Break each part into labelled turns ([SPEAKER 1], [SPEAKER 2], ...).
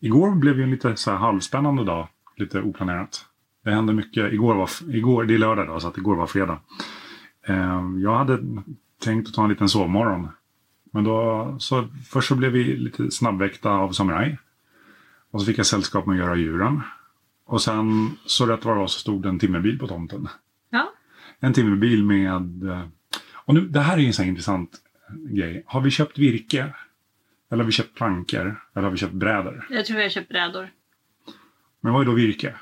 [SPEAKER 1] Igår blev ju en lite så här halvspännande dag. Lite oplanerat. Det hände mycket. Igår var, f- igår, det är lördag då, så att igår var fredag. Eh, jag hade tänkt att ta en liten sovmorgon. Men då, så, först så blev vi lite snabbväckta av Samurai. Och så fick jag sällskap med att göra djuren. Och sen så rätt vad det var så stod det en timmerbil på tomten.
[SPEAKER 2] Ja.
[SPEAKER 1] En timmerbil med... eh, Och nu, det här är ju en sån här intressant eh, grej. Har vi köpt virke? Eller har vi köpt plankor? Eller har vi köpt brädor?
[SPEAKER 2] Jag tror vi har köpt brädor.
[SPEAKER 1] Men vad är då virke?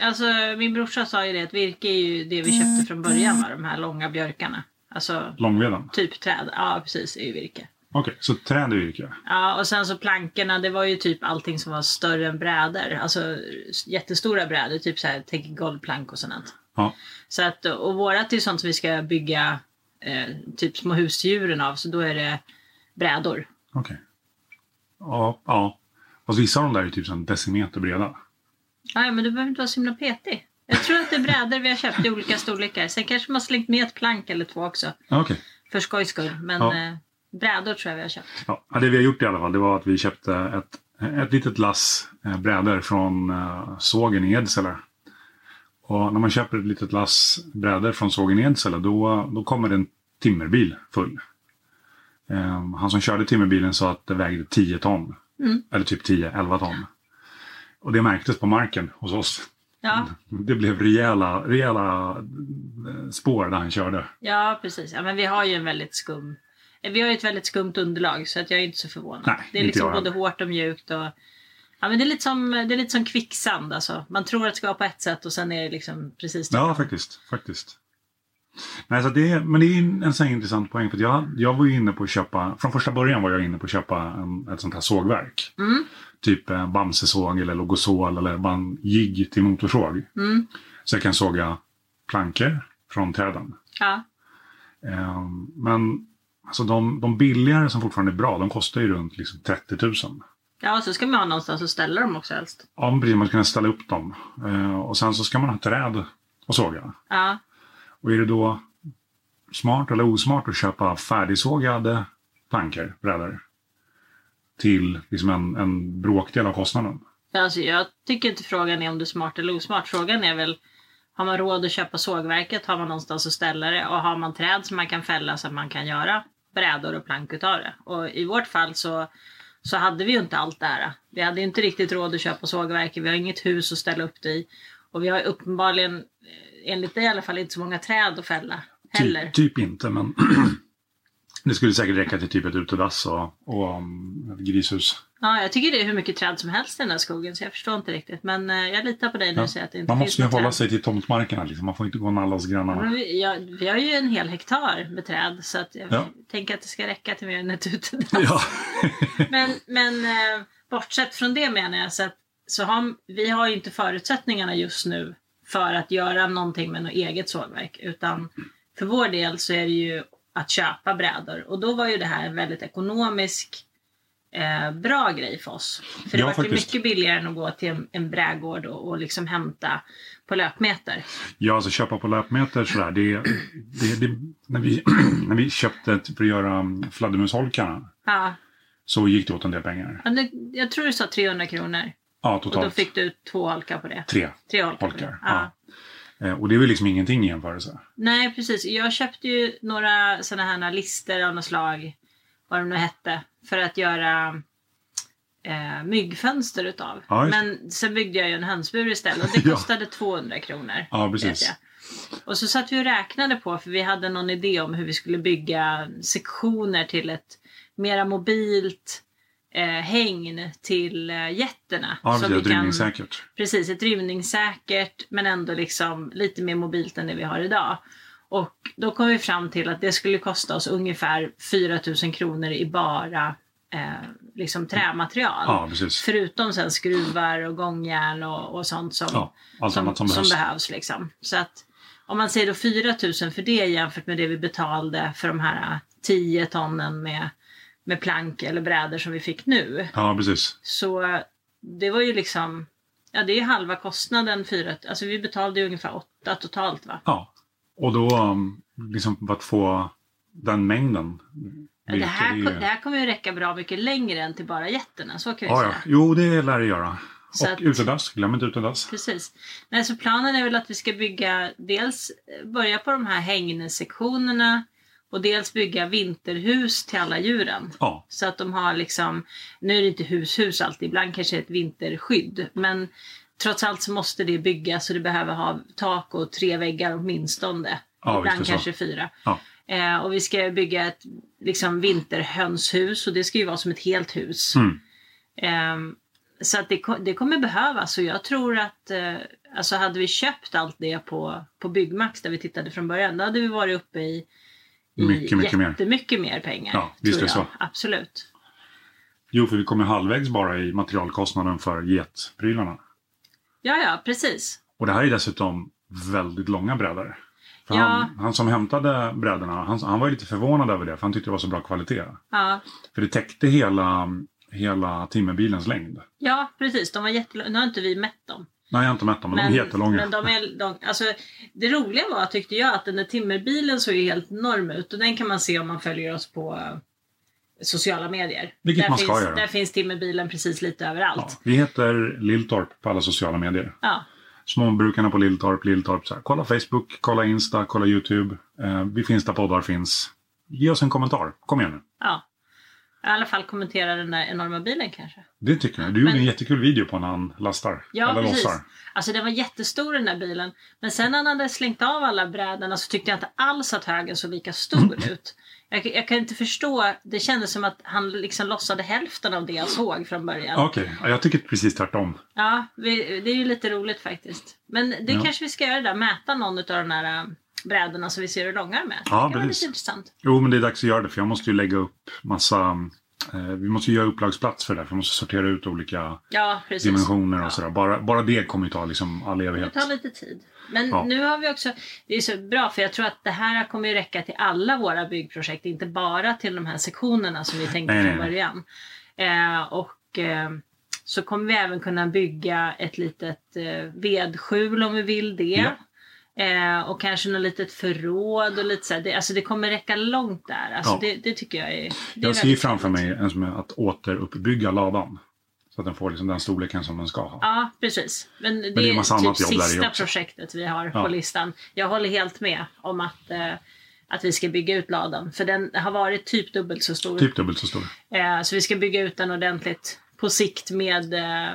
[SPEAKER 2] Alltså min brorsa sa ju det att virke är ju det vi köpte från början va, de här långa björkarna. Alltså
[SPEAKER 1] Långveden?
[SPEAKER 2] typ träd. Ja precis, är ju virke.
[SPEAKER 1] Okej, så träd är virke.
[SPEAKER 2] Ja och sen så plankorna, det var ju typ allting som var större än brädor. Alltså jättestora brädor, typ så här, tänk golvplank och sånt.
[SPEAKER 1] Ja.
[SPEAKER 2] Så att, och vårat är ju sånt som vi ska bygga eh, typ små husdjuren av, så då är det brädor.
[SPEAKER 1] Okej. Ja, ja. Fast vissa av de där är typ så en decimeter breda.
[SPEAKER 2] Ja, ja, men du behöver inte vara så himla petig. Jag tror att det är brädor vi har köpt i olika storlekar. Sen kanske man har slängt med ett plank eller två också.
[SPEAKER 1] Okej.
[SPEAKER 2] För skojs skull. Men
[SPEAKER 1] Ja.
[SPEAKER 2] eh, brädor tror jag vi har köpt.
[SPEAKER 1] Ja, ja, det vi har gjort i alla fall det var att vi köpte ett, ett litet lass eh, brädor från eh, sågen i Edsele. Och när man köper ett litet lass brädor från sågen i Edsele då, då kommer det en timmerbil full. Eh, han som körde timmerbilen sa att det vägde 10 ton.
[SPEAKER 2] Mm.
[SPEAKER 1] Eller typ 10-11 ton. Och det märktes på marken hos oss.
[SPEAKER 2] Ja,
[SPEAKER 1] Det blev rejäla, rejäla eh, spår där han körde.
[SPEAKER 2] ja precis. Ja, men vi har ju en väldigt skum... eh, Vi har ju ett väldigt skumt underlag så att jag är inte så förvånad.
[SPEAKER 1] Nej,
[SPEAKER 2] det är
[SPEAKER 1] inte
[SPEAKER 2] liksom
[SPEAKER 1] jag
[SPEAKER 2] både
[SPEAKER 1] heller.
[SPEAKER 2] hårt och mjukt. Och, ja, men det, är lite som, det är lite som kvicksand alltså. Man tror att det ska vara på ett sätt och sen är det liksom precis
[SPEAKER 1] Ja,
[SPEAKER 2] tvärtom.
[SPEAKER 1] faktiskt. faktiskt. Nej, så det, är- men det är ju en sån här intressant poäng. För att jag, jag var ju inne på att köpa, från första början var jag inne på att köpa en, ett sånt här sågverk.
[SPEAKER 2] Mm.
[SPEAKER 1] Typ eh, Bamsesåg eller Logosol eller bara en jigg till motorsåg.
[SPEAKER 2] Mm.
[SPEAKER 1] Så jag kan såga plankor från träden.
[SPEAKER 2] Ja,
[SPEAKER 1] Eh, men alltså de, de billigare som fortfarande är bra, de kostar ju runt liksom 30 000.
[SPEAKER 2] ja och så ska man ha någonstans att ställa dem också helst.
[SPEAKER 1] Ja, men precis. Man ska kunna ställa upp dem. Eh, och sen så ska man ha träd och såga.
[SPEAKER 2] Ja,
[SPEAKER 1] Och är det då smart eller osmart att köpa färdigsågade plankor, brädor? Till liksom en, en bråkdel av kostnaden.
[SPEAKER 2] alltså, jag tycker inte frågan är om du är smart eller osmart. Frågan är väl har man råd att köpa sågverket? Har man någonstans att ställa det? Och har man träd som man kan fälla så att man kan göra brädor och plank utav det? Och i vårt fall så, så hade vi ju inte allt det här. Vi hade ju inte riktigt råd att köpa sågverket. Vi har inget hus att ställa upp det i. Och vi har uppenbarligen, eh, enligt dig i alla fall, inte så många träd att fälla heller.
[SPEAKER 1] Typ, typ inte, men det skulle säkert räcka till typ ett utedass och, och um, ett grishus.
[SPEAKER 2] Ja, jag tycker det är hur mycket träd som helst i den här skogen så jag förstår inte riktigt. Men eh, jag litar på dig när du
[SPEAKER 1] Ja.
[SPEAKER 2] säger att det inte
[SPEAKER 1] Man
[SPEAKER 2] finns
[SPEAKER 1] måste ju
[SPEAKER 2] något
[SPEAKER 1] hålla
[SPEAKER 2] träd. Mm.
[SPEAKER 1] sig till tomtmarkerna. Liksom. Man får inte gå och nalla hos
[SPEAKER 2] Men
[SPEAKER 1] grannarna.
[SPEAKER 2] vi, ja, vi har ju en hel hektar med träd så att jag
[SPEAKER 1] Ja.
[SPEAKER 2] tänker att det ska räcka till mer än ett utedass.
[SPEAKER 1] Ja.
[SPEAKER 2] Men, men eh, bortsett från det menar jag så att så har, vi har ju inte förutsättningarna just nu för att göra någonting med något eget sågverk utan för vår del så är det ju att köpa brädor och då var ju det här en väldigt ekonomisk eh, bra grej för oss. För det
[SPEAKER 1] Ja,
[SPEAKER 2] var ju
[SPEAKER 1] faktiskt.
[SPEAKER 2] mycket billigare än att gå till en, en brädgård och, och liksom hämta på löpmeter.
[SPEAKER 1] Ja, alltså köpa på löpmeter sådär. Det, det, det, när, vi, när vi köpte ett- för att göra um, fladdermusholkarna
[SPEAKER 2] Ja,
[SPEAKER 1] så gick det åt en del pengar.
[SPEAKER 2] men det, jag tror du sa 300 kronor.
[SPEAKER 1] Ja,
[SPEAKER 2] Och då
[SPEAKER 1] totalt
[SPEAKER 2] fick du två holkar på det.
[SPEAKER 1] tre
[SPEAKER 2] Tre holkar. på det.
[SPEAKER 1] holkar.
[SPEAKER 2] Ja.
[SPEAKER 1] Ja. Eh, Och det är väl liksom ingenting i jämförelse.
[SPEAKER 2] Nej, precis. Jag köpte ju några sådana här lister av något slag, vad de nu hette, för att göra eh, myggfönster utav.
[SPEAKER 1] Ja, just
[SPEAKER 2] Men sen byggde jag ju en hönsbur istället och det
[SPEAKER 1] Ja.
[SPEAKER 2] kostade 200 kronor.
[SPEAKER 1] Ja,
[SPEAKER 2] vet
[SPEAKER 1] precis.
[SPEAKER 2] jag. Och så satt vi och räknade på, för vi hade någon idé om hur vi skulle bygga sektioner till ett mera mobilt eh, hägn till eh, getterna.
[SPEAKER 1] Ja,
[SPEAKER 2] som
[SPEAKER 1] precis.
[SPEAKER 2] vi kan-
[SPEAKER 1] Drymningssäkert.
[SPEAKER 2] Precis, ett rymningssäkert men ändå liksom lite mer mobilt än det vi har idag. Och då kom vi fram till att det skulle kosta oss ungefär 4 000 kronor i bara eh, liksom trämaterial.
[SPEAKER 1] Ja, precis.
[SPEAKER 2] Förutom sen skruvar och gångjärn och, och sånt som,
[SPEAKER 1] Ja, allt
[SPEAKER 2] som,
[SPEAKER 1] annat som behövs.
[SPEAKER 2] liksom. Så att om man säger då 4 000 för det jämfört med det vi betalade för de här eh, 10 tonnen med, med plank eller brädor som vi fick nu.
[SPEAKER 1] Ja, precis.
[SPEAKER 2] Så eh, det var ju liksom, ja det är halva kostnaden fyra, alltså vi betalade ju ungefär åtta totalt va?
[SPEAKER 1] Ja. Och då, um, liksom för att få den mängden
[SPEAKER 2] Det här,
[SPEAKER 1] Vilket är
[SPEAKER 2] ko-
[SPEAKER 1] ju-
[SPEAKER 2] det här kommer ju räcka bra mycket längre än till bara jätterna, så kan vi
[SPEAKER 1] Ja, ja.
[SPEAKER 2] säga.
[SPEAKER 1] Jo, det lär det göra.
[SPEAKER 2] Så
[SPEAKER 1] och
[SPEAKER 2] att-
[SPEAKER 1] utedass, glöm inte utedass.
[SPEAKER 2] Precis. Nej, så planen är väl att vi ska bygga dels eh, börja på de här hängnesektionerna och dels bygga vinterhus till alla djuren.
[SPEAKER 1] Ja,
[SPEAKER 2] Så att de har liksom, nu är det inte hus-hus alltid, ibland kanske ett vinterskydd. Men trots allt så måste det byggas och det behöver ha tak och tre väggar åtminstone.
[SPEAKER 1] Ja, visst är
[SPEAKER 2] ibland
[SPEAKER 1] det så.
[SPEAKER 2] kanske fyra.
[SPEAKER 1] Ja.
[SPEAKER 2] Eh, och vi ska bygga ett liksom, vinterhönshus och det ska ju vara som ett helt hus.
[SPEAKER 1] Mm.
[SPEAKER 2] Ehm, så att det, ko- det kommer behövas och jag tror att eh, alltså hade vi köpt allt det på, på Byggmax där vi tittade från början, då hade vi varit uppe i, i
[SPEAKER 1] Mycket, mycket mer.
[SPEAKER 2] jättemycket mer pengar.
[SPEAKER 1] Ja, visst
[SPEAKER 2] tror
[SPEAKER 1] är det
[SPEAKER 2] jag.
[SPEAKER 1] så.
[SPEAKER 2] Absolut.
[SPEAKER 1] Jo, för vi kommer halvvägs bara i materialkostnaden för getprylarna.
[SPEAKER 2] Ja, ja, precis.
[SPEAKER 1] Och det här är dessutom väldigt långa brädor. För
[SPEAKER 2] Ja.
[SPEAKER 1] han, han som hämtade brädorna, han, han var ju lite förvånad över det, för han tyckte det var så bra kvalitet.
[SPEAKER 2] Ja,
[SPEAKER 1] För det täckte hela, hela timmerbilens längd.
[SPEAKER 2] ja precis. De var jättelånga. Nu har inte vi mätt dem.
[SPEAKER 1] Nej, jag har inte mätt dem, men, de är jättelånga.
[SPEAKER 2] Men de är, de, alltså, det roliga var, tyckte jag, att den där timmerbilen såg ju helt enorm ut och den kan man se om man följer oss på eh, sociala medier.
[SPEAKER 1] Vilket
[SPEAKER 2] där
[SPEAKER 1] man ska
[SPEAKER 2] finns,
[SPEAKER 1] göra.
[SPEAKER 2] Där finns timmerbilen precis lite
[SPEAKER 1] Ja,
[SPEAKER 2] överallt.
[SPEAKER 1] vi heter Lilltorp på alla sociala medier.
[SPEAKER 2] Ja.
[SPEAKER 1] Småbrukarna på Lilltorp, Lilltorp. Så här. Kolla Facebook, kolla Insta, kolla YouTube. Eh, vi finns där poddar finns. Ge oss en kommentar. Kom igen nu.
[SPEAKER 2] Ja. I alla fall kommentera den där enorma bilen kanske.
[SPEAKER 1] Det tycker jag. Du gjorde
[SPEAKER 2] Men-
[SPEAKER 1] en jättekul video på när han lastar.
[SPEAKER 2] Ja,
[SPEAKER 1] eller
[SPEAKER 2] precis.
[SPEAKER 1] lossar.
[SPEAKER 2] Alltså den var jättestor den där bilen. Men sen när han hade slängt av alla brädorna så tyckte jag inte alls att högen såg lika
[SPEAKER 1] Mm.
[SPEAKER 2] stor ut. Jag, jag kan inte förstå. Det kändes som att han liksom lossade hälften av det jag såg från början. Ja,
[SPEAKER 1] Okej, ja, jag tycker precis tvärtom.
[SPEAKER 2] vi, det är ju lite roligt faktiskt. Men det
[SPEAKER 1] Ja.
[SPEAKER 2] kanske vi ska göra där. Mäta någon av de där äh, brädorna så vi ser hur långa de är.
[SPEAKER 1] Ja,
[SPEAKER 2] det kan vara
[SPEAKER 1] precis.
[SPEAKER 2] lite intressant.
[SPEAKER 1] Jo, men det är dags att göra det för jag måste ju lägga upp massa... Eh, vi måste ju göra upplagsplats för det där. För vi måste sortera ut olika
[SPEAKER 2] Ja, precis.
[SPEAKER 1] dimensioner och
[SPEAKER 2] Ja.
[SPEAKER 1] sådär. Bara, bara det kommer ju ta liksom all evighet.
[SPEAKER 2] Det tar lite tid. Men
[SPEAKER 1] Ja.
[SPEAKER 2] nu har vi också, det är så bra för jag tror att det här kommer ju räcka till alla våra byggprojekt, inte bara till de här sektionerna som vi tänkte
[SPEAKER 1] Nej, nej,
[SPEAKER 2] från
[SPEAKER 1] nej.
[SPEAKER 2] början. Eh, och eh, så kommer vi även kunna bygga ett litet eh, vedskjul om vi vill det. Eh, och kanske något litet förråd och lite så här. Det, alltså det kommer räcka långt där. Alltså
[SPEAKER 1] Ja.
[SPEAKER 2] det, det tycker jag är... Det är
[SPEAKER 1] Jag ser ju
[SPEAKER 2] väldigt
[SPEAKER 1] framför
[SPEAKER 2] roligt.
[SPEAKER 1] mig en som är att återuppbygga ladan. Så att den får liksom den storleken som den ska ha.
[SPEAKER 2] Ja, precis. Men det,
[SPEAKER 1] det är ju
[SPEAKER 2] är
[SPEAKER 1] massa
[SPEAKER 2] typ
[SPEAKER 1] annat jobb där i
[SPEAKER 2] sista
[SPEAKER 1] också.
[SPEAKER 2] projektet vi har
[SPEAKER 1] Ja.
[SPEAKER 2] på listan. Jag håller helt med om att, eh, att vi ska bygga ut ladan. För den har varit typ dubbelt så stor.
[SPEAKER 1] Typ dubbelt så stor.
[SPEAKER 2] Eh, så vi ska bygga ut den ordentligt på sikt med, eh,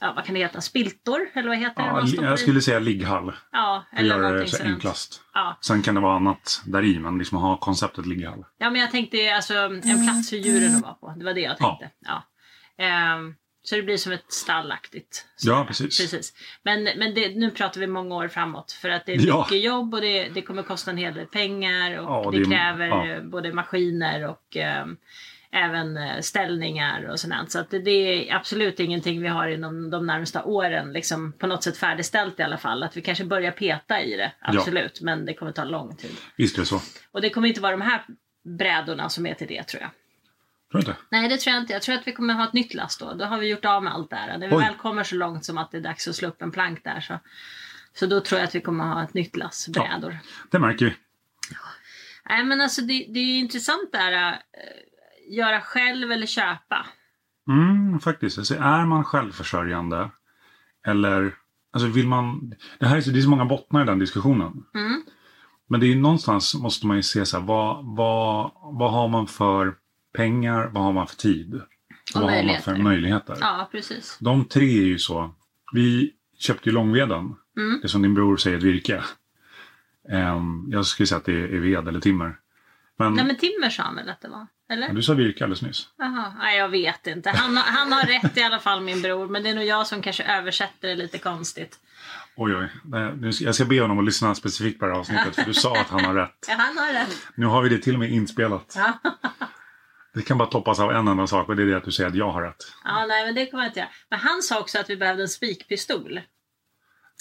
[SPEAKER 2] ja, vad kan det heta, spiltor? Eller vad heter det?
[SPEAKER 1] Ja,
[SPEAKER 2] man
[SPEAKER 1] li-
[SPEAKER 2] stoppar i?
[SPEAKER 1] jag skulle säga ligghall.
[SPEAKER 2] ja,
[SPEAKER 1] För att
[SPEAKER 2] eller
[SPEAKER 1] göra det
[SPEAKER 2] någonting
[SPEAKER 1] så
[SPEAKER 2] sådant.
[SPEAKER 1] enklast.
[SPEAKER 2] Ja.
[SPEAKER 1] Sen kan det vara annat där i, men liksom ha konceptet ligghall.
[SPEAKER 2] ja, men jag tänkte alltså en plats för djuren att vara på. Det var det jag
[SPEAKER 1] Ja.
[SPEAKER 2] tänkte. Ja. Ehm, så det blir som ett stallaktigt. Så
[SPEAKER 1] Ja, precis.
[SPEAKER 2] Precis. Men, men det, nu pratar vi många år framåt för att det är
[SPEAKER 1] Ja.
[SPEAKER 2] mycket jobb och det, det kommer kosta en hel del pengar och
[SPEAKER 1] Ja,
[SPEAKER 2] det,
[SPEAKER 1] det-
[SPEAKER 2] kräver
[SPEAKER 1] ja.
[SPEAKER 2] eh, både maskiner och eh, även eh, ställningar och sånt. Så att det, det är absolut ingenting vi har inom de närmsta åren liksom på något sätt färdigställt i alla fall. Att vi kanske börjar peta i det, absolut, men det kommer ta lång tid.
[SPEAKER 1] Visst är det så?
[SPEAKER 2] Och det kommer inte vara de här brädorna som är till det tror jag.
[SPEAKER 1] Tror du inte?
[SPEAKER 2] Nej, det tror jag inte. Jag tror att vi kommer ha ett nytt lass då. Då har vi gjort av med allt det här. När vi
[SPEAKER 1] Oj.
[SPEAKER 2] väl kommer så långt som att det är dags att slå upp en plank där så, så då tror jag att vi kommer ha ett nytt lass brädor.
[SPEAKER 1] Det märker vi.
[SPEAKER 2] Nej, men alltså det, det är intressant det här eh, göra själv eller köpa.
[SPEAKER 1] Mm, faktiskt. Alltså, är man självförsörjande eller... Alltså vill man... Det här är så, det är så många bottnar i den diskussionen.
[SPEAKER 2] Mm.
[SPEAKER 1] Men det är ju någonstans måste man ju se så här, vad, vad, vad har man för pengar, vad har man för tid?
[SPEAKER 2] Och
[SPEAKER 1] vad har man
[SPEAKER 2] möjligheter.
[SPEAKER 1] för möjligheter?
[SPEAKER 2] Ja, precis.
[SPEAKER 1] De tre är ju så. Vi köpte ju långveden.
[SPEAKER 2] Mm.
[SPEAKER 1] Det som din bror säger, ett virke. Ehm, jag skulle säga att det är ved eller timmer. Men,
[SPEAKER 2] Nej, men timmer sa han väl att det var? Eller?
[SPEAKER 1] Ja, du sa virke alldeles nyss.
[SPEAKER 2] Jaha, nej jag vet inte. Han, har- han har rätt i alla fall min bror, men det är nog jag som kanske översätter det lite konstigt.
[SPEAKER 1] Oj, oj. Nej, nu ska- Jag ska be honom att lyssna specifikt på det här avsnittet. För du sa att han har rätt.
[SPEAKER 2] Ja, han har rätt.
[SPEAKER 1] Nu har vi det till och med inspelat.
[SPEAKER 2] Ja.
[SPEAKER 1] Det kan bara toppas av en enda sak och det är det att du säger att jag har rätt.
[SPEAKER 2] Ja, nej men det kommer jag inte göra. Men han sa också att vi behövde en spikpistol.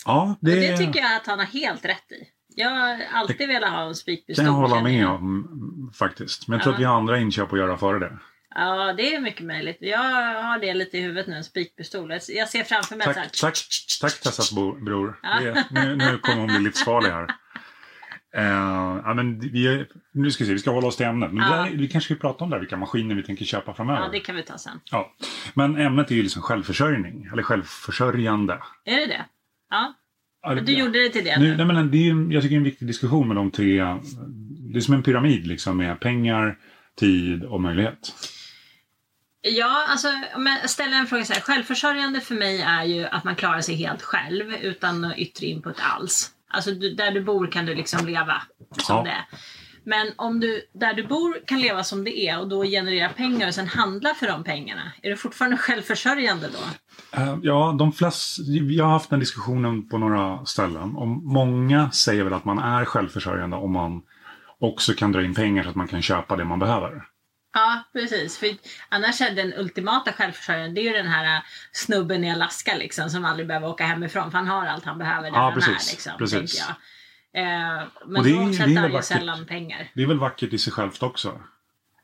[SPEAKER 1] Ja, det,
[SPEAKER 2] Och det tycker jag att han har helt rätt i. Jag har alltid velat ha en
[SPEAKER 1] kan
[SPEAKER 2] spikpistol.
[SPEAKER 1] jag hålla
[SPEAKER 2] känner
[SPEAKER 1] med
[SPEAKER 2] jag.
[SPEAKER 1] om mm, faktiskt. Men jag tror
[SPEAKER 2] Ja.
[SPEAKER 1] att vi har andra inköp att göra före det.
[SPEAKER 2] Ja, det är mycket möjligt. Jag har det lite i huvudet nu, en spikpistol. Jag jag ser framför mig
[SPEAKER 1] Tack,
[SPEAKER 2] så här.
[SPEAKER 1] tack, tack Tessas bo- bror.
[SPEAKER 2] Ja.
[SPEAKER 1] Det, nu, nu kommer hon bli livsfarlig här. Eh, ja, men vi, nu ska vi se, vi ska hålla oss till ämnet. Men
[SPEAKER 2] Ja.
[SPEAKER 1] det där, vi kanske ska prata om det, här, vilka maskiner vi tänker köpa framöver.
[SPEAKER 2] Ja, det kan vi ta sen.
[SPEAKER 1] Ja. Men ämnet är ju liksom självförsörjning, eller självförsörjande.
[SPEAKER 2] Är det det? Ja,
[SPEAKER 1] Ja,
[SPEAKER 2] men du gjorde det till det
[SPEAKER 1] nu,
[SPEAKER 2] nu.
[SPEAKER 1] nej, men det är, ju- jag tycker det är en viktig diskussion med de tre. eh, Det är som en pyramid liksom med pengar, tid och möjlighet.
[SPEAKER 2] Ja, alltså om jag ställer en fråga så här. Självförsörjande för mig är ju att man klarar sig helt själv utan någon yttre input alls. Alltså du, där du bor kan du liksom leva som
[SPEAKER 1] Ja.
[SPEAKER 2] det är. Men om du där du bor kan leva som det är och då generera pengar och sen handla för de pengarna. Är du fortfarande självförsörjande då?
[SPEAKER 1] Eh, Ja, de flest, jag har haft den diskussionen på några ställen. Och många säger väl att man är självförsörjande om man också kan dra in pengar så att man kan köpa det man behöver.
[SPEAKER 2] Ja, precis. För annars är den ultimata självförsörjaren, det är ju den här äh, snubben i Alaska liksom, som aldrig behöver åka hemifrån för han har allt han behöver där
[SPEAKER 1] Ja,
[SPEAKER 2] han
[SPEAKER 1] precis,
[SPEAKER 2] är. Liksom,
[SPEAKER 1] precis.
[SPEAKER 2] tänker jag. Eh,
[SPEAKER 1] Och
[SPEAKER 2] men
[SPEAKER 1] det är-
[SPEAKER 2] då
[SPEAKER 1] det är
[SPEAKER 2] omsätter han ju
[SPEAKER 1] vackert.
[SPEAKER 2] sällan pengar.
[SPEAKER 1] Det är väl vackert i sig självt också,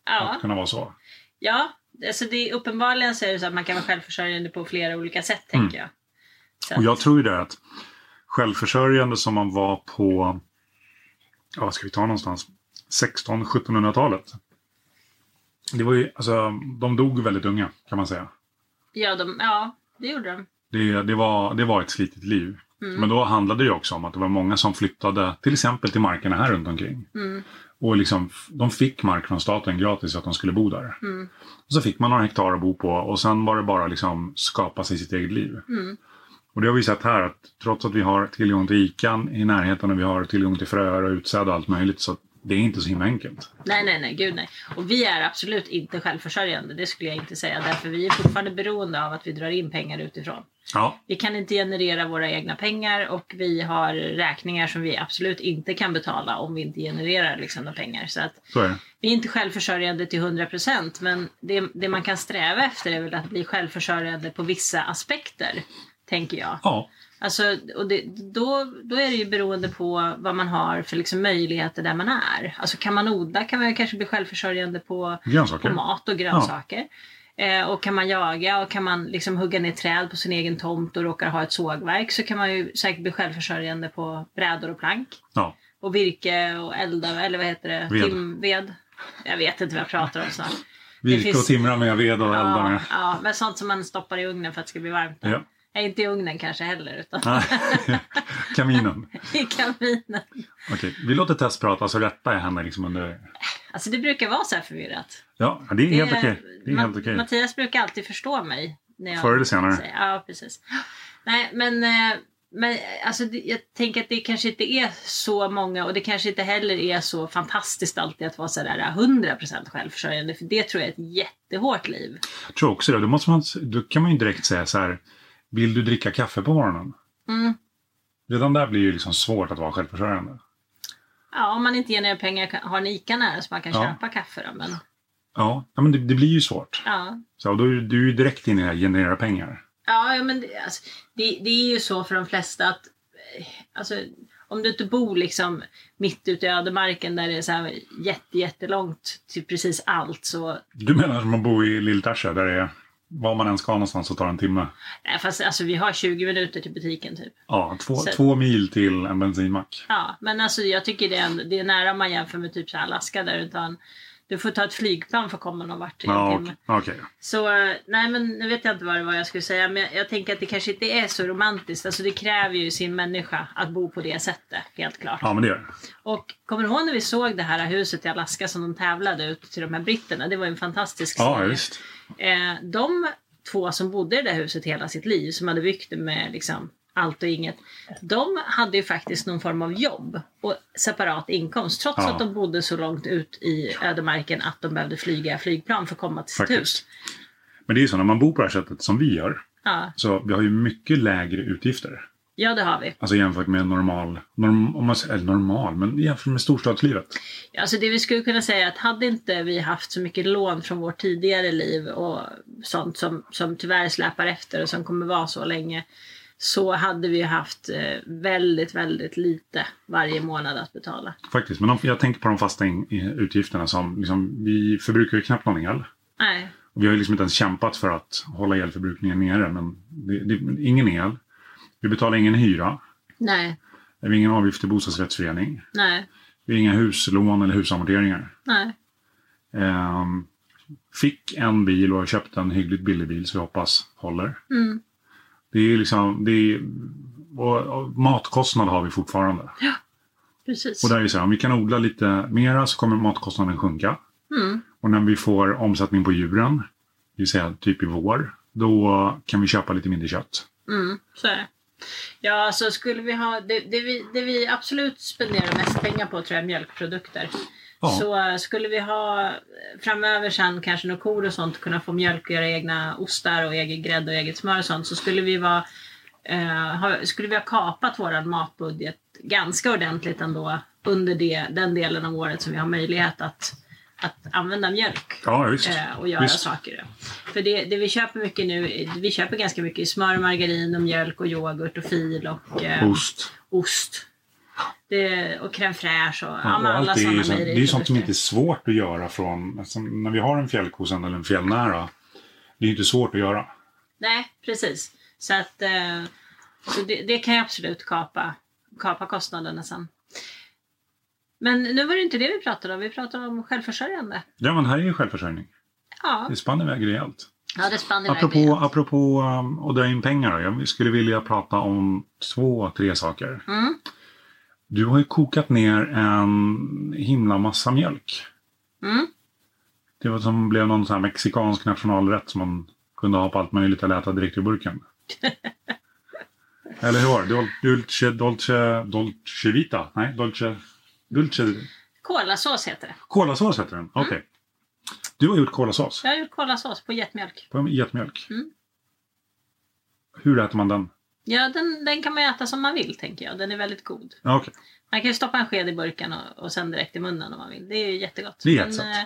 [SPEAKER 2] Ja,
[SPEAKER 1] att kunna vara så.
[SPEAKER 2] ja. Alltså det är, uppenbarligen så är det så att man kan vara självförsörjande på flera olika sätt tänker
[SPEAKER 1] Mm.
[SPEAKER 2] jag. Så
[SPEAKER 1] Och jag tror ju det att självförsörjande som man var på, ja vad ska vi ta någonstans, 1600-1700-talet. Det var ju, alltså de dog väldigt unga kan man säga.
[SPEAKER 2] ja, de, ja, det gjorde de.
[SPEAKER 1] Det, det, var, det var ett slitigt liv.
[SPEAKER 2] Mm.
[SPEAKER 1] Men då handlade det ju också om att det var många som flyttade till exempel till markerna här runt omkring.
[SPEAKER 2] Mm.
[SPEAKER 1] Och liksom, f- de fick mark från staten gratis för att de skulle bo där.
[SPEAKER 2] Mm.
[SPEAKER 1] Och så fick man några hektar att bo på och sen var det bara liksom skapa sig sitt eget liv.
[SPEAKER 2] Mm.
[SPEAKER 1] Och det har vi sett här att trots att vi har tillgång till ikan i närheten och vi har tillgång till fröer och utsäde och allt möjligt så det är inte så himla enkelt.
[SPEAKER 2] Nej, nej, nej, gud nej. Och vi är absolut inte självförsörjande, det skulle jag inte säga. Därför vi är fortfarande beroende av att vi drar in pengar utifrån.
[SPEAKER 1] Ja,
[SPEAKER 2] Vi kan inte generera våra egna pengar och vi har räkningar som vi absolut inte kan betala om vi inte genererar liksom några pengar. Så att
[SPEAKER 1] så är det.
[SPEAKER 2] vi är inte självförsörjande till 100% men det, det man kan sträva efter är väl att bli självförsörjande på vissa aspekter, tänker jag.
[SPEAKER 1] Ja,
[SPEAKER 2] Alltså, och det, då, då är det ju beroende på vad man har för liksom möjligheter där man är. Alltså kan man odla kan man ju kanske bli självförsörjande på på
[SPEAKER 1] grönsaker.
[SPEAKER 2] mat och grönsaker. Eh, och kan man jaga och kan man liksom hugga ner träd på sin egen tomt och råkar ha ett sågverk så kan man ju säkert bli självförsörjande på brädor och plank.
[SPEAKER 1] Ja.
[SPEAKER 2] Och virke och elda, eller vad heter det?
[SPEAKER 1] Ved.
[SPEAKER 2] Timved. Jag vet inte vad jag pratar om snart.
[SPEAKER 1] Virke
[SPEAKER 2] finns-
[SPEAKER 1] och timra med, ved och elda
[SPEAKER 2] Ja,
[SPEAKER 1] med.
[SPEAKER 2] ja, men sånt som man stoppar i ugnen för att det ska bli varmt.
[SPEAKER 1] Ja.
[SPEAKER 2] Nej, inte i ugnen kanske heller utan
[SPEAKER 1] Nej. Kaminen.
[SPEAKER 2] i kaminen.
[SPEAKER 1] Okej, vi låter Tess prata så rättar jag henne liksom under...
[SPEAKER 2] Alltså det brukar vara så här förvirrat.
[SPEAKER 1] Ja, det är helt
[SPEAKER 2] Det-
[SPEAKER 1] okej. Det är
[SPEAKER 2] Eh, Ma-
[SPEAKER 1] helt okej.
[SPEAKER 2] Mattias brukar alltid förstå mig. När jag
[SPEAKER 1] Förr eller senare.
[SPEAKER 2] säger- Ja, precis. Nej, men, eh, men eh, alltså, det- jag tänker att det kanske inte är så många och det kanske inte heller är så fantastiskt alltid att vara sådär 100% självförsörjande. För det tror jag är ett jättehårt liv.
[SPEAKER 1] Jag tror också det. Då, måste man, då kan man ju direkt säga så här. Vill du dricka kaffe på morgonen?
[SPEAKER 2] Mm.
[SPEAKER 1] Redan där blir det ju liksom svårt att vara självförsörjande.
[SPEAKER 2] Ja, om man inte genererar pengar kan- har en ICA nära så man kan
[SPEAKER 1] Ja.
[SPEAKER 2] köpa kaffe då. Men,
[SPEAKER 1] Ja, ja men det, det blir ju svårt.
[SPEAKER 2] ja.
[SPEAKER 1] Så, och då är du- du är ju direkt inne i det här generera pengar.
[SPEAKER 2] Ja, ja, men det, alltså, det, det är ju så för de flesta att eh, alltså, om du inte bor liksom mitt ute i ödemarken där det är så här jätte, jättelångt till precis allt så...
[SPEAKER 1] Du menar som att bo i Lilltärsö där det är var man än ska någonstans så tar det en timme.
[SPEAKER 2] Nej, fast alltså, vi har 20 minuter till butiken typ.
[SPEAKER 1] Ja, två,
[SPEAKER 2] Så-
[SPEAKER 1] två mil till en bensinmack.
[SPEAKER 2] Ja, men alltså jag tycker det är, en- det är nära om man jämför med typ så här Alaska där utan du får ta ett flygplan för att komma någon vart i en
[SPEAKER 1] Ja,
[SPEAKER 2] timme.
[SPEAKER 1] okej. okej.
[SPEAKER 2] Så eh, nej men nu vet jag inte vad det var jag skulle säga men jag, jag tänker att det kanske inte är så romantiskt. Alltså det kräver ju sin människa att bo på det sättet helt klart.
[SPEAKER 1] Ja, men det gör det.
[SPEAKER 2] Och kommer du ihåg när vi såg det här huset i Alaska som de tävlade ut till de här britterna? Det var ju en fantastisk
[SPEAKER 1] Ja,
[SPEAKER 2] serie.
[SPEAKER 1] visst.
[SPEAKER 2] Eh, de två som bodde i det där huset hela sitt liv, som hade byggt det med liksom allt och inget. De hade ju faktiskt någon form av jobb och separat inkomst trots
[SPEAKER 1] Ja.
[SPEAKER 2] att de bodde så långt ut i ödemarken att de behövde flyga flygplan för att komma till sitt hus.
[SPEAKER 1] Faktiskt. Men det är ju så när man bor på det här sättet som vi gör.
[SPEAKER 2] Ja.
[SPEAKER 1] Så vi har ju mycket lägre utgifter.
[SPEAKER 2] ja, det har vi.
[SPEAKER 1] Alltså jämfört med normal, norm, om man, säger- eller normal, men jämfört med storstadslivet.
[SPEAKER 2] Alltså det vi skulle kunna säga är att hade inte vi haft så mycket lån från vårt tidigare liv och sånt som, som tyvärr släpar efter och som kommer vara så länge så hade vi haft eh, väldigt, väldigt lite varje månad att betala.
[SPEAKER 1] Faktiskt, men om, jag tänker på de fasta in, i- utgifterna som, liksom, vi förbrukar ju knappt någon el.
[SPEAKER 2] Nej,
[SPEAKER 1] Och vi har ju liksom inte ens kämpat för att hålla elförbrukningen nere, men det, det, ingen el. Vi betalar ingen hyra.
[SPEAKER 2] nej,
[SPEAKER 1] Det är ingen avgift till bostadsrättsförening.
[SPEAKER 2] Nej,
[SPEAKER 1] Det är inga huslån eller husamorteringar.
[SPEAKER 2] nej.
[SPEAKER 1] Ehm, fick en bil och har köpt en hyggligt billig bil som vi hoppas håller.
[SPEAKER 2] Mm.
[SPEAKER 1] Det är liksom, det är, och, och matkostnad har vi fortfarande.
[SPEAKER 2] Precis.
[SPEAKER 1] Och där är det så här, om vi kan odla lite mera så kommer matkostnaden sjunka.
[SPEAKER 2] Mm.
[SPEAKER 1] Och när vi får omsättning på djuren, det vill säga typ i vår, då kan vi köpa lite mindre kött.
[SPEAKER 2] Mm, så är det. Ja, alltså skulle vi ha... Det, det, vi, det vi absolut spenderar mest pengar på tror jag är mjölkprodukter.
[SPEAKER 1] Ja.
[SPEAKER 2] Så eh, skulle vi ha eh, framöver sen kanske några kor och sånt kunna få mjölk och göra egna ostar och egen grädde och eget smör och sånt så skulle vi vara eh, ha, skulle vi ha kapat våran matbudget ganska ordentligt ändå under det, den delen av året som vi har möjlighet att, att använda mjölk
[SPEAKER 1] Ja, visst.
[SPEAKER 2] eh, och göra
[SPEAKER 1] Visst.
[SPEAKER 2] saker. då. För det, det vi köper mycket nu, vi köper ganska mycket smör, margarin och mjölk och yoghurt och fil och eh,
[SPEAKER 1] Ost.
[SPEAKER 2] ost. Det, och crème fraîche och, ja,
[SPEAKER 1] Ja,
[SPEAKER 2] men
[SPEAKER 1] och
[SPEAKER 2] alla
[SPEAKER 1] allt det är
[SPEAKER 2] sådana
[SPEAKER 1] ju sånt, det är ju sånt som
[SPEAKER 2] mejeriprodukter.
[SPEAKER 1] inte är svårt att göra från... Alltså, när vi har en fjällkosan eller en fjällnära, det är ju inte svårt att göra.
[SPEAKER 2] Nej, precis. Så, att, eh, så det, det kan jag absolut kapa, kapa kostnaderna sen. Men nu var det inte det vi pratade om, vi pratade om självförsörjande.
[SPEAKER 1] Ja, men här är ju självförsörjning.
[SPEAKER 2] Ja,
[SPEAKER 1] Det spann iväg rejält.
[SPEAKER 2] ja det spann iväg
[SPEAKER 1] Apropå,
[SPEAKER 2] rejält.
[SPEAKER 1] apropå um, att dra in pengar, då, jag skulle vilja prata om två, tre saker.
[SPEAKER 2] Mm,
[SPEAKER 1] Du har ju kokat ner en himla massa mjölk.
[SPEAKER 2] mm,
[SPEAKER 1] Det var som blev någon sån här mexikansk nationalrätt som man kunde ha på allt möjligt eller äta direkt ur burken. eller hur var det? Dol- Dulce, dolce, dolce vita? Nej, dolce... Dulce...
[SPEAKER 2] kolasås heter det.
[SPEAKER 1] Kolasås heter den. Okej. Du har gjort kolasås
[SPEAKER 2] Jag har gjort kolasås på getmjölk.
[SPEAKER 1] på getmjölk.
[SPEAKER 2] Mm.
[SPEAKER 1] Hur äter man den?
[SPEAKER 2] Ja, den, den kan man äta som man vill tänker jag. Den är väldigt god.
[SPEAKER 1] Ja, Okej.
[SPEAKER 2] Man kan ju stoppa en sked i burken och, och sen direkt i munnen om man vill. Det är ju jättegott.
[SPEAKER 1] Det är
[SPEAKER 2] men,
[SPEAKER 1] jättesött.
[SPEAKER 2] eh,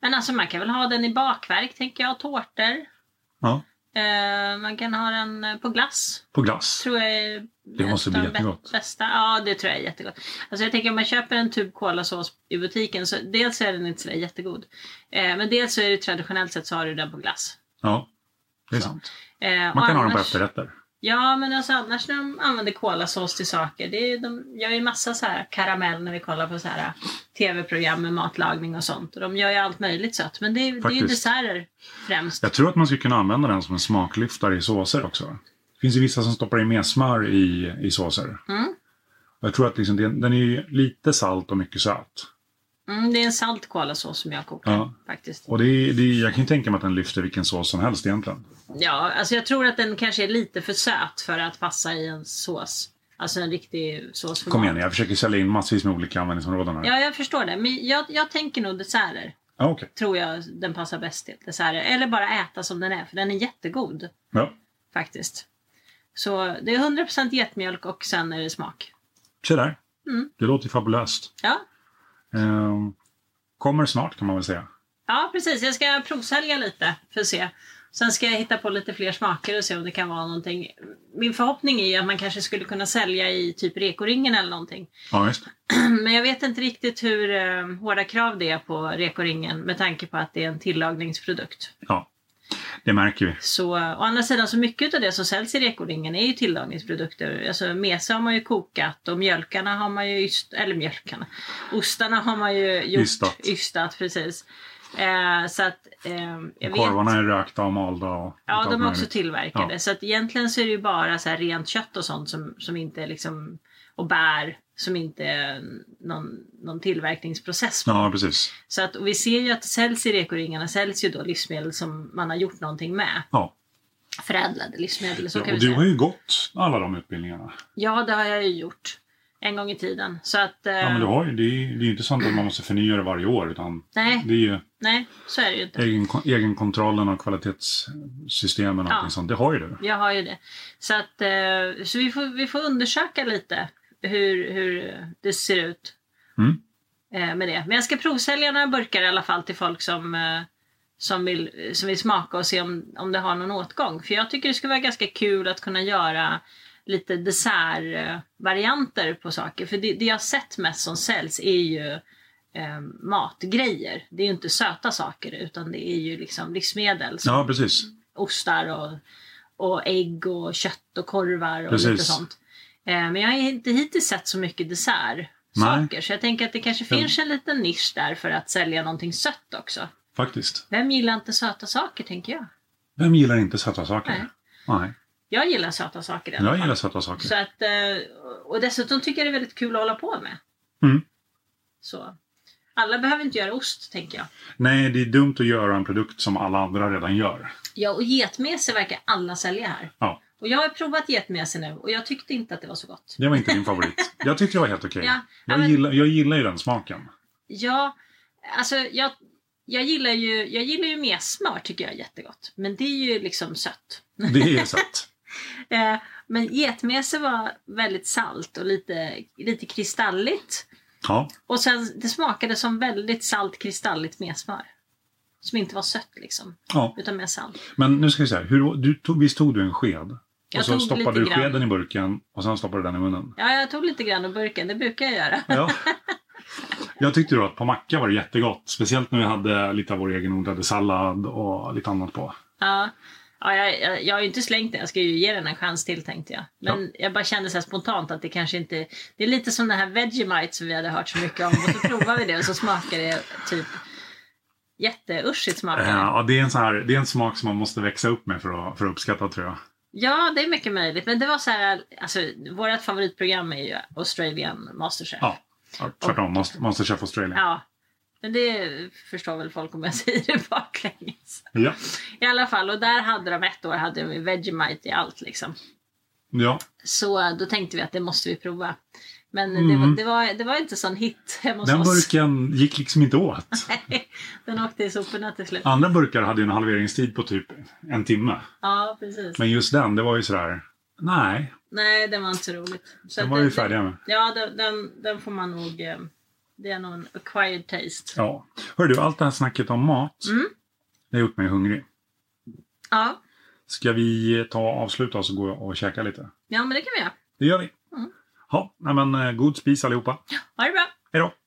[SPEAKER 2] men alltså man kan väl ha den i bakverk tänker jag, tårtor.
[SPEAKER 1] Ja,
[SPEAKER 2] Eh, man kan ha den eh, på glass.
[SPEAKER 1] på glass.
[SPEAKER 2] Tror jag är
[SPEAKER 1] Det måste
[SPEAKER 2] ett
[SPEAKER 1] bli
[SPEAKER 2] av de
[SPEAKER 1] jättegott.
[SPEAKER 2] Bästa. Ja, det tror jag är jättegott. Alltså jag tänker om man köper en tub kolasås i butiken så dels är den inte sådär jättegod. Eh, men dels så är det traditionellt sett så har du den på glass.
[SPEAKER 1] Ja, det är
[SPEAKER 2] Så.
[SPEAKER 1] sant.
[SPEAKER 2] Eh,
[SPEAKER 1] Man
[SPEAKER 2] och
[SPEAKER 1] kan ha den på
[SPEAKER 2] annars-
[SPEAKER 1] efterrätter.
[SPEAKER 2] Ja, men alltså annars när de använder kolasås till saker, det är, ju- de gör ju massa så här karamell när vi kollar på så här tv-program med matlagning och sånt. Och de gör ju allt möjligt sött, men det är, det är ju
[SPEAKER 1] Faktiskt.
[SPEAKER 2] desserter främst.
[SPEAKER 1] Jag tror att man skulle kunna använda den som en smaklyftare i såser också. Det finns ju vissa som stoppar in mer smör i, i såser.
[SPEAKER 2] Mm.
[SPEAKER 1] Jag tror att liksom den, den är ju lite salt och mycket söt.
[SPEAKER 2] Mm, det är en salt kolasås som jag kokar
[SPEAKER 1] Ja.
[SPEAKER 2] faktiskt.
[SPEAKER 1] Och det är, det är, jag kan ju tänka mig att den lyfter vilken sås som helst egentligen.
[SPEAKER 2] Ja, alltså jag tror att den kanske är lite för söt för att passa i en sås. Alltså en riktig sås för
[SPEAKER 1] Kom
[SPEAKER 2] mat.
[SPEAKER 1] igen, jag försöker sälja in massvis med olika användningsområden här.
[SPEAKER 2] Ja, jag förstår det. Men jag, jag tänker nog desserter.
[SPEAKER 1] Ja, okej.
[SPEAKER 2] Tror jag den passar bäst till. Desserter. Eller bara äta som den är, för den är jättegod.
[SPEAKER 1] Ja.
[SPEAKER 2] faktiskt. Så det är 100% getmjölk och sen är det smak.
[SPEAKER 1] Se där.
[SPEAKER 2] Mm.
[SPEAKER 1] Det låter ju fabulöst.
[SPEAKER 2] Ja,
[SPEAKER 1] Ehm, kommer snart kan man väl säga.
[SPEAKER 2] ja precis. Jag ska provsälja lite för att se. Sen ska jag hitta på lite fler smaker och se om det kan vara någonting. Min förhoppning är ju att man kanske skulle kunna sälja i typ rekoringen eller någonting.
[SPEAKER 1] Ja, visst.
[SPEAKER 2] Men jag vet inte riktigt hur eh, hårda krav det är på rekoringen med tanke på att det är en tillagningsprodukt.
[SPEAKER 1] Ja. Det märker vi.
[SPEAKER 2] Så å andra sidan så mycket av det som säljs i rekoringen är ju tillagningsprodukter. Alltså mesa har man ju kokat och mjölkarna har man ju yst, eller mjölkarna, ostarna har man ju gjort,
[SPEAKER 1] Ystat.
[SPEAKER 2] ystat, precis. Eh, så att eh, jag
[SPEAKER 1] Korvarna
[SPEAKER 2] vet.
[SPEAKER 1] är rökta och malda och
[SPEAKER 2] Ja,
[SPEAKER 1] allt
[SPEAKER 2] de är
[SPEAKER 1] möjligt.
[SPEAKER 2] också typ- tillverkade.
[SPEAKER 1] Ja.
[SPEAKER 2] Så att egentligen så är det ju bara så här rent kött och sånt som, som inte är liksom, och bär som inte är någon, någon tillverkningsprocess på.
[SPEAKER 1] Ja, precis.
[SPEAKER 2] Så att, och vi ser ju att det säljs i rekoringarna säljs ju då livsmedel som man har gjort någonting med
[SPEAKER 1] Ja.
[SPEAKER 2] förädlade livsmedel. Så
[SPEAKER 1] Ja,
[SPEAKER 2] kan
[SPEAKER 1] och
[SPEAKER 2] vi
[SPEAKER 1] du
[SPEAKER 2] säga.
[SPEAKER 1] har ju gått alla de utbildningarna.
[SPEAKER 2] Ja, det har jag ju gjort. En gång i tiden. Så att, eh,
[SPEAKER 1] Ja, men du har ju, det, är, ju- det är ju inte sant att man måste förnya det varje år utan
[SPEAKER 2] nej,
[SPEAKER 1] det är ju
[SPEAKER 2] nej, så är det ju inte.
[SPEAKER 1] egen, egenkontrollen och kvalitetssystemen och
[SPEAKER 2] Ja.
[SPEAKER 1] allting sånt. Det har ju du.
[SPEAKER 2] Jag har ju det. Så, att, eh, så vi, får, vi får undersöka lite hur, hur det ser ut
[SPEAKER 1] Mm.
[SPEAKER 2] eh, med det. Men jag ska provsälja några burkar i alla fall till folk som, eh, som, vill, som vill smaka och se om, om det har någon åtgång. För jag tycker det skulle vara ganska kul att kunna göra lite dessertvarianter på saker. För det, det jag har sett mest som säljs är ju eh, matgrejer. Det är ju inte söta saker utan det är ju liksom livsmedel som
[SPEAKER 1] Ja, precis.
[SPEAKER 2] ostar och, och ägg och kött och korvar och lite
[SPEAKER 1] Precis.
[SPEAKER 2] sånt. Eh, Men jag har inte hittills sett så mycket dessertsaker. Så jag tänker att det kanske finns en liten nisch där för att sälja någonting sött också.
[SPEAKER 1] Faktiskt.
[SPEAKER 2] Vem gillar inte söta saker tänker jag?
[SPEAKER 1] Vem gillar inte söta saker? Nej.
[SPEAKER 2] Jag gillar söta saker i alla
[SPEAKER 1] Jag
[SPEAKER 2] fall.
[SPEAKER 1] gillar söta saker.
[SPEAKER 2] Så att, eh, och dessutom tycker jag det är väldigt kul att hålla på med.
[SPEAKER 1] Mm.
[SPEAKER 2] Så. Alla behöver inte göra ost, tänker jag.
[SPEAKER 1] Nej, det är dumt att göra en produkt som alla andra redan gör.
[SPEAKER 2] Ja, och getmese verkar alla sälja här.
[SPEAKER 1] Ja,
[SPEAKER 2] Och jag har provat getmese nu och jag tyckte inte att det var så gott.
[SPEAKER 1] det var inte din favorit. Jag tyckte det var helt okej.
[SPEAKER 2] Ja, ja,
[SPEAKER 1] Jag,
[SPEAKER 2] men-
[SPEAKER 1] gillar, jag gillar ju den smaken.
[SPEAKER 2] Ja, alltså jag, jag gillar ju, jag gillar ju messmör tycker jag är jättegott. Men det är ju liksom sött.
[SPEAKER 1] Det är sött.
[SPEAKER 2] Eh, men getmese var väldigt salt och lite, lite kristalligt.
[SPEAKER 1] Ja,
[SPEAKER 2] Och sen det smakade som väldigt salt kristalligt messmör. Som inte var sött liksom,
[SPEAKER 1] ja.
[SPEAKER 2] utan mer salt.
[SPEAKER 1] Men nu ska vi se här. Hur, du tog, visst tog du en sked?
[SPEAKER 2] Jag
[SPEAKER 1] och så
[SPEAKER 2] tog
[SPEAKER 1] stoppade du
[SPEAKER 2] lite grann.
[SPEAKER 1] skeden i burken och sen stoppade du den i munnen.
[SPEAKER 2] Ja, jag tog lite grann ur burken, det brukar jag göra.
[SPEAKER 1] Ja. Jag tyckte då att på macka var det jättegott. Speciellt när vi hade lite av vår egenodlade sallad och lite annat på.
[SPEAKER 2] Ja. Ja, jag, jag, jag har ju inte slängt den, jag ska ju ge den en chans till tänkte jag. Men jag bara kände så här spontant att det kanske inte... Det är lite som den här Vegemite som vi hade hört så mycket om. Och så provar vi det och så smakar det typ jätteuschigt smakar
[SPEAKER 1] Eh,
[SPEAKER 2] det.
[SPEAKER 1] Ja, det är en, sån här, det är en smak som man måste växa upp med för att, för att uppskatta tror jag.
[SPEAKER 2] Ja, det är mycket möjligt. Men det var så här, alltså vårt favoritprogram är ju Australian Masterchef.
[SPEAKER 1] Ja. Ja, Tvärtom, Mas- Masterchef Australien.
[SPEAKER 2] Ja. Men det förstår väl folk om jag säger det baklänges.
[SPEAKER 1] Ja.
[SPEAKER 2] I alla fall, och där hade de ett år hade de ju Vegemite i allt liksom.
[SPEAKER 1] ja.
[SPEAKER 2] Så då tänkte vi att det måste vi prova. Men det,
[SPEAKER 1] Mm.
[SPEAKER 2] var, det, var, det var inte sån hit hemma hos
[SPEAKER 1] Den
[SPEAKER 2] oss.
[SPEAKER 1] burken gick liksom inte åt.
[SPEAKER 2] Den åkte i soporna till slut. Ja,
[SPEAKER 1] Andra burkar hade ju en halveringstid på typ en timme.
[SPEAKER 2] precis.
[SPEAKER 1] Men just den, det var ju sådär, nej,
[SPEAKER 2] Nej, den var inte så roligt. Så
[SPEAKER 1] den
[SPEAKER 2] att
[SPEAKER 1] var vi
[SPEAKER 2] det-
[SPEAKER 1] färdiga med.
[SPEAKER 2] Ja, den, den, den får man nog... eh, Det är nog en acquired taste. Ja.
[SPEAKER 1] Ja. Hör du, allt det här snacket om mat,
[SPEAKER 2] Mm.
[SPEAKER 1] det har gjort mig hungrig. Ska vi ta och avsluta oss och gå och käka lite?
[SPEAKER 2] ja, men det kan vi göra.
[SPEAKER 1] Det gör vi.
[SPEAKER 2] Mm.
[SPEAKER 1] Ja, nej men eh, god spis allihopa.
[SPEAKER 2] Ha det bra!
[SPEAKER 1] Hej då!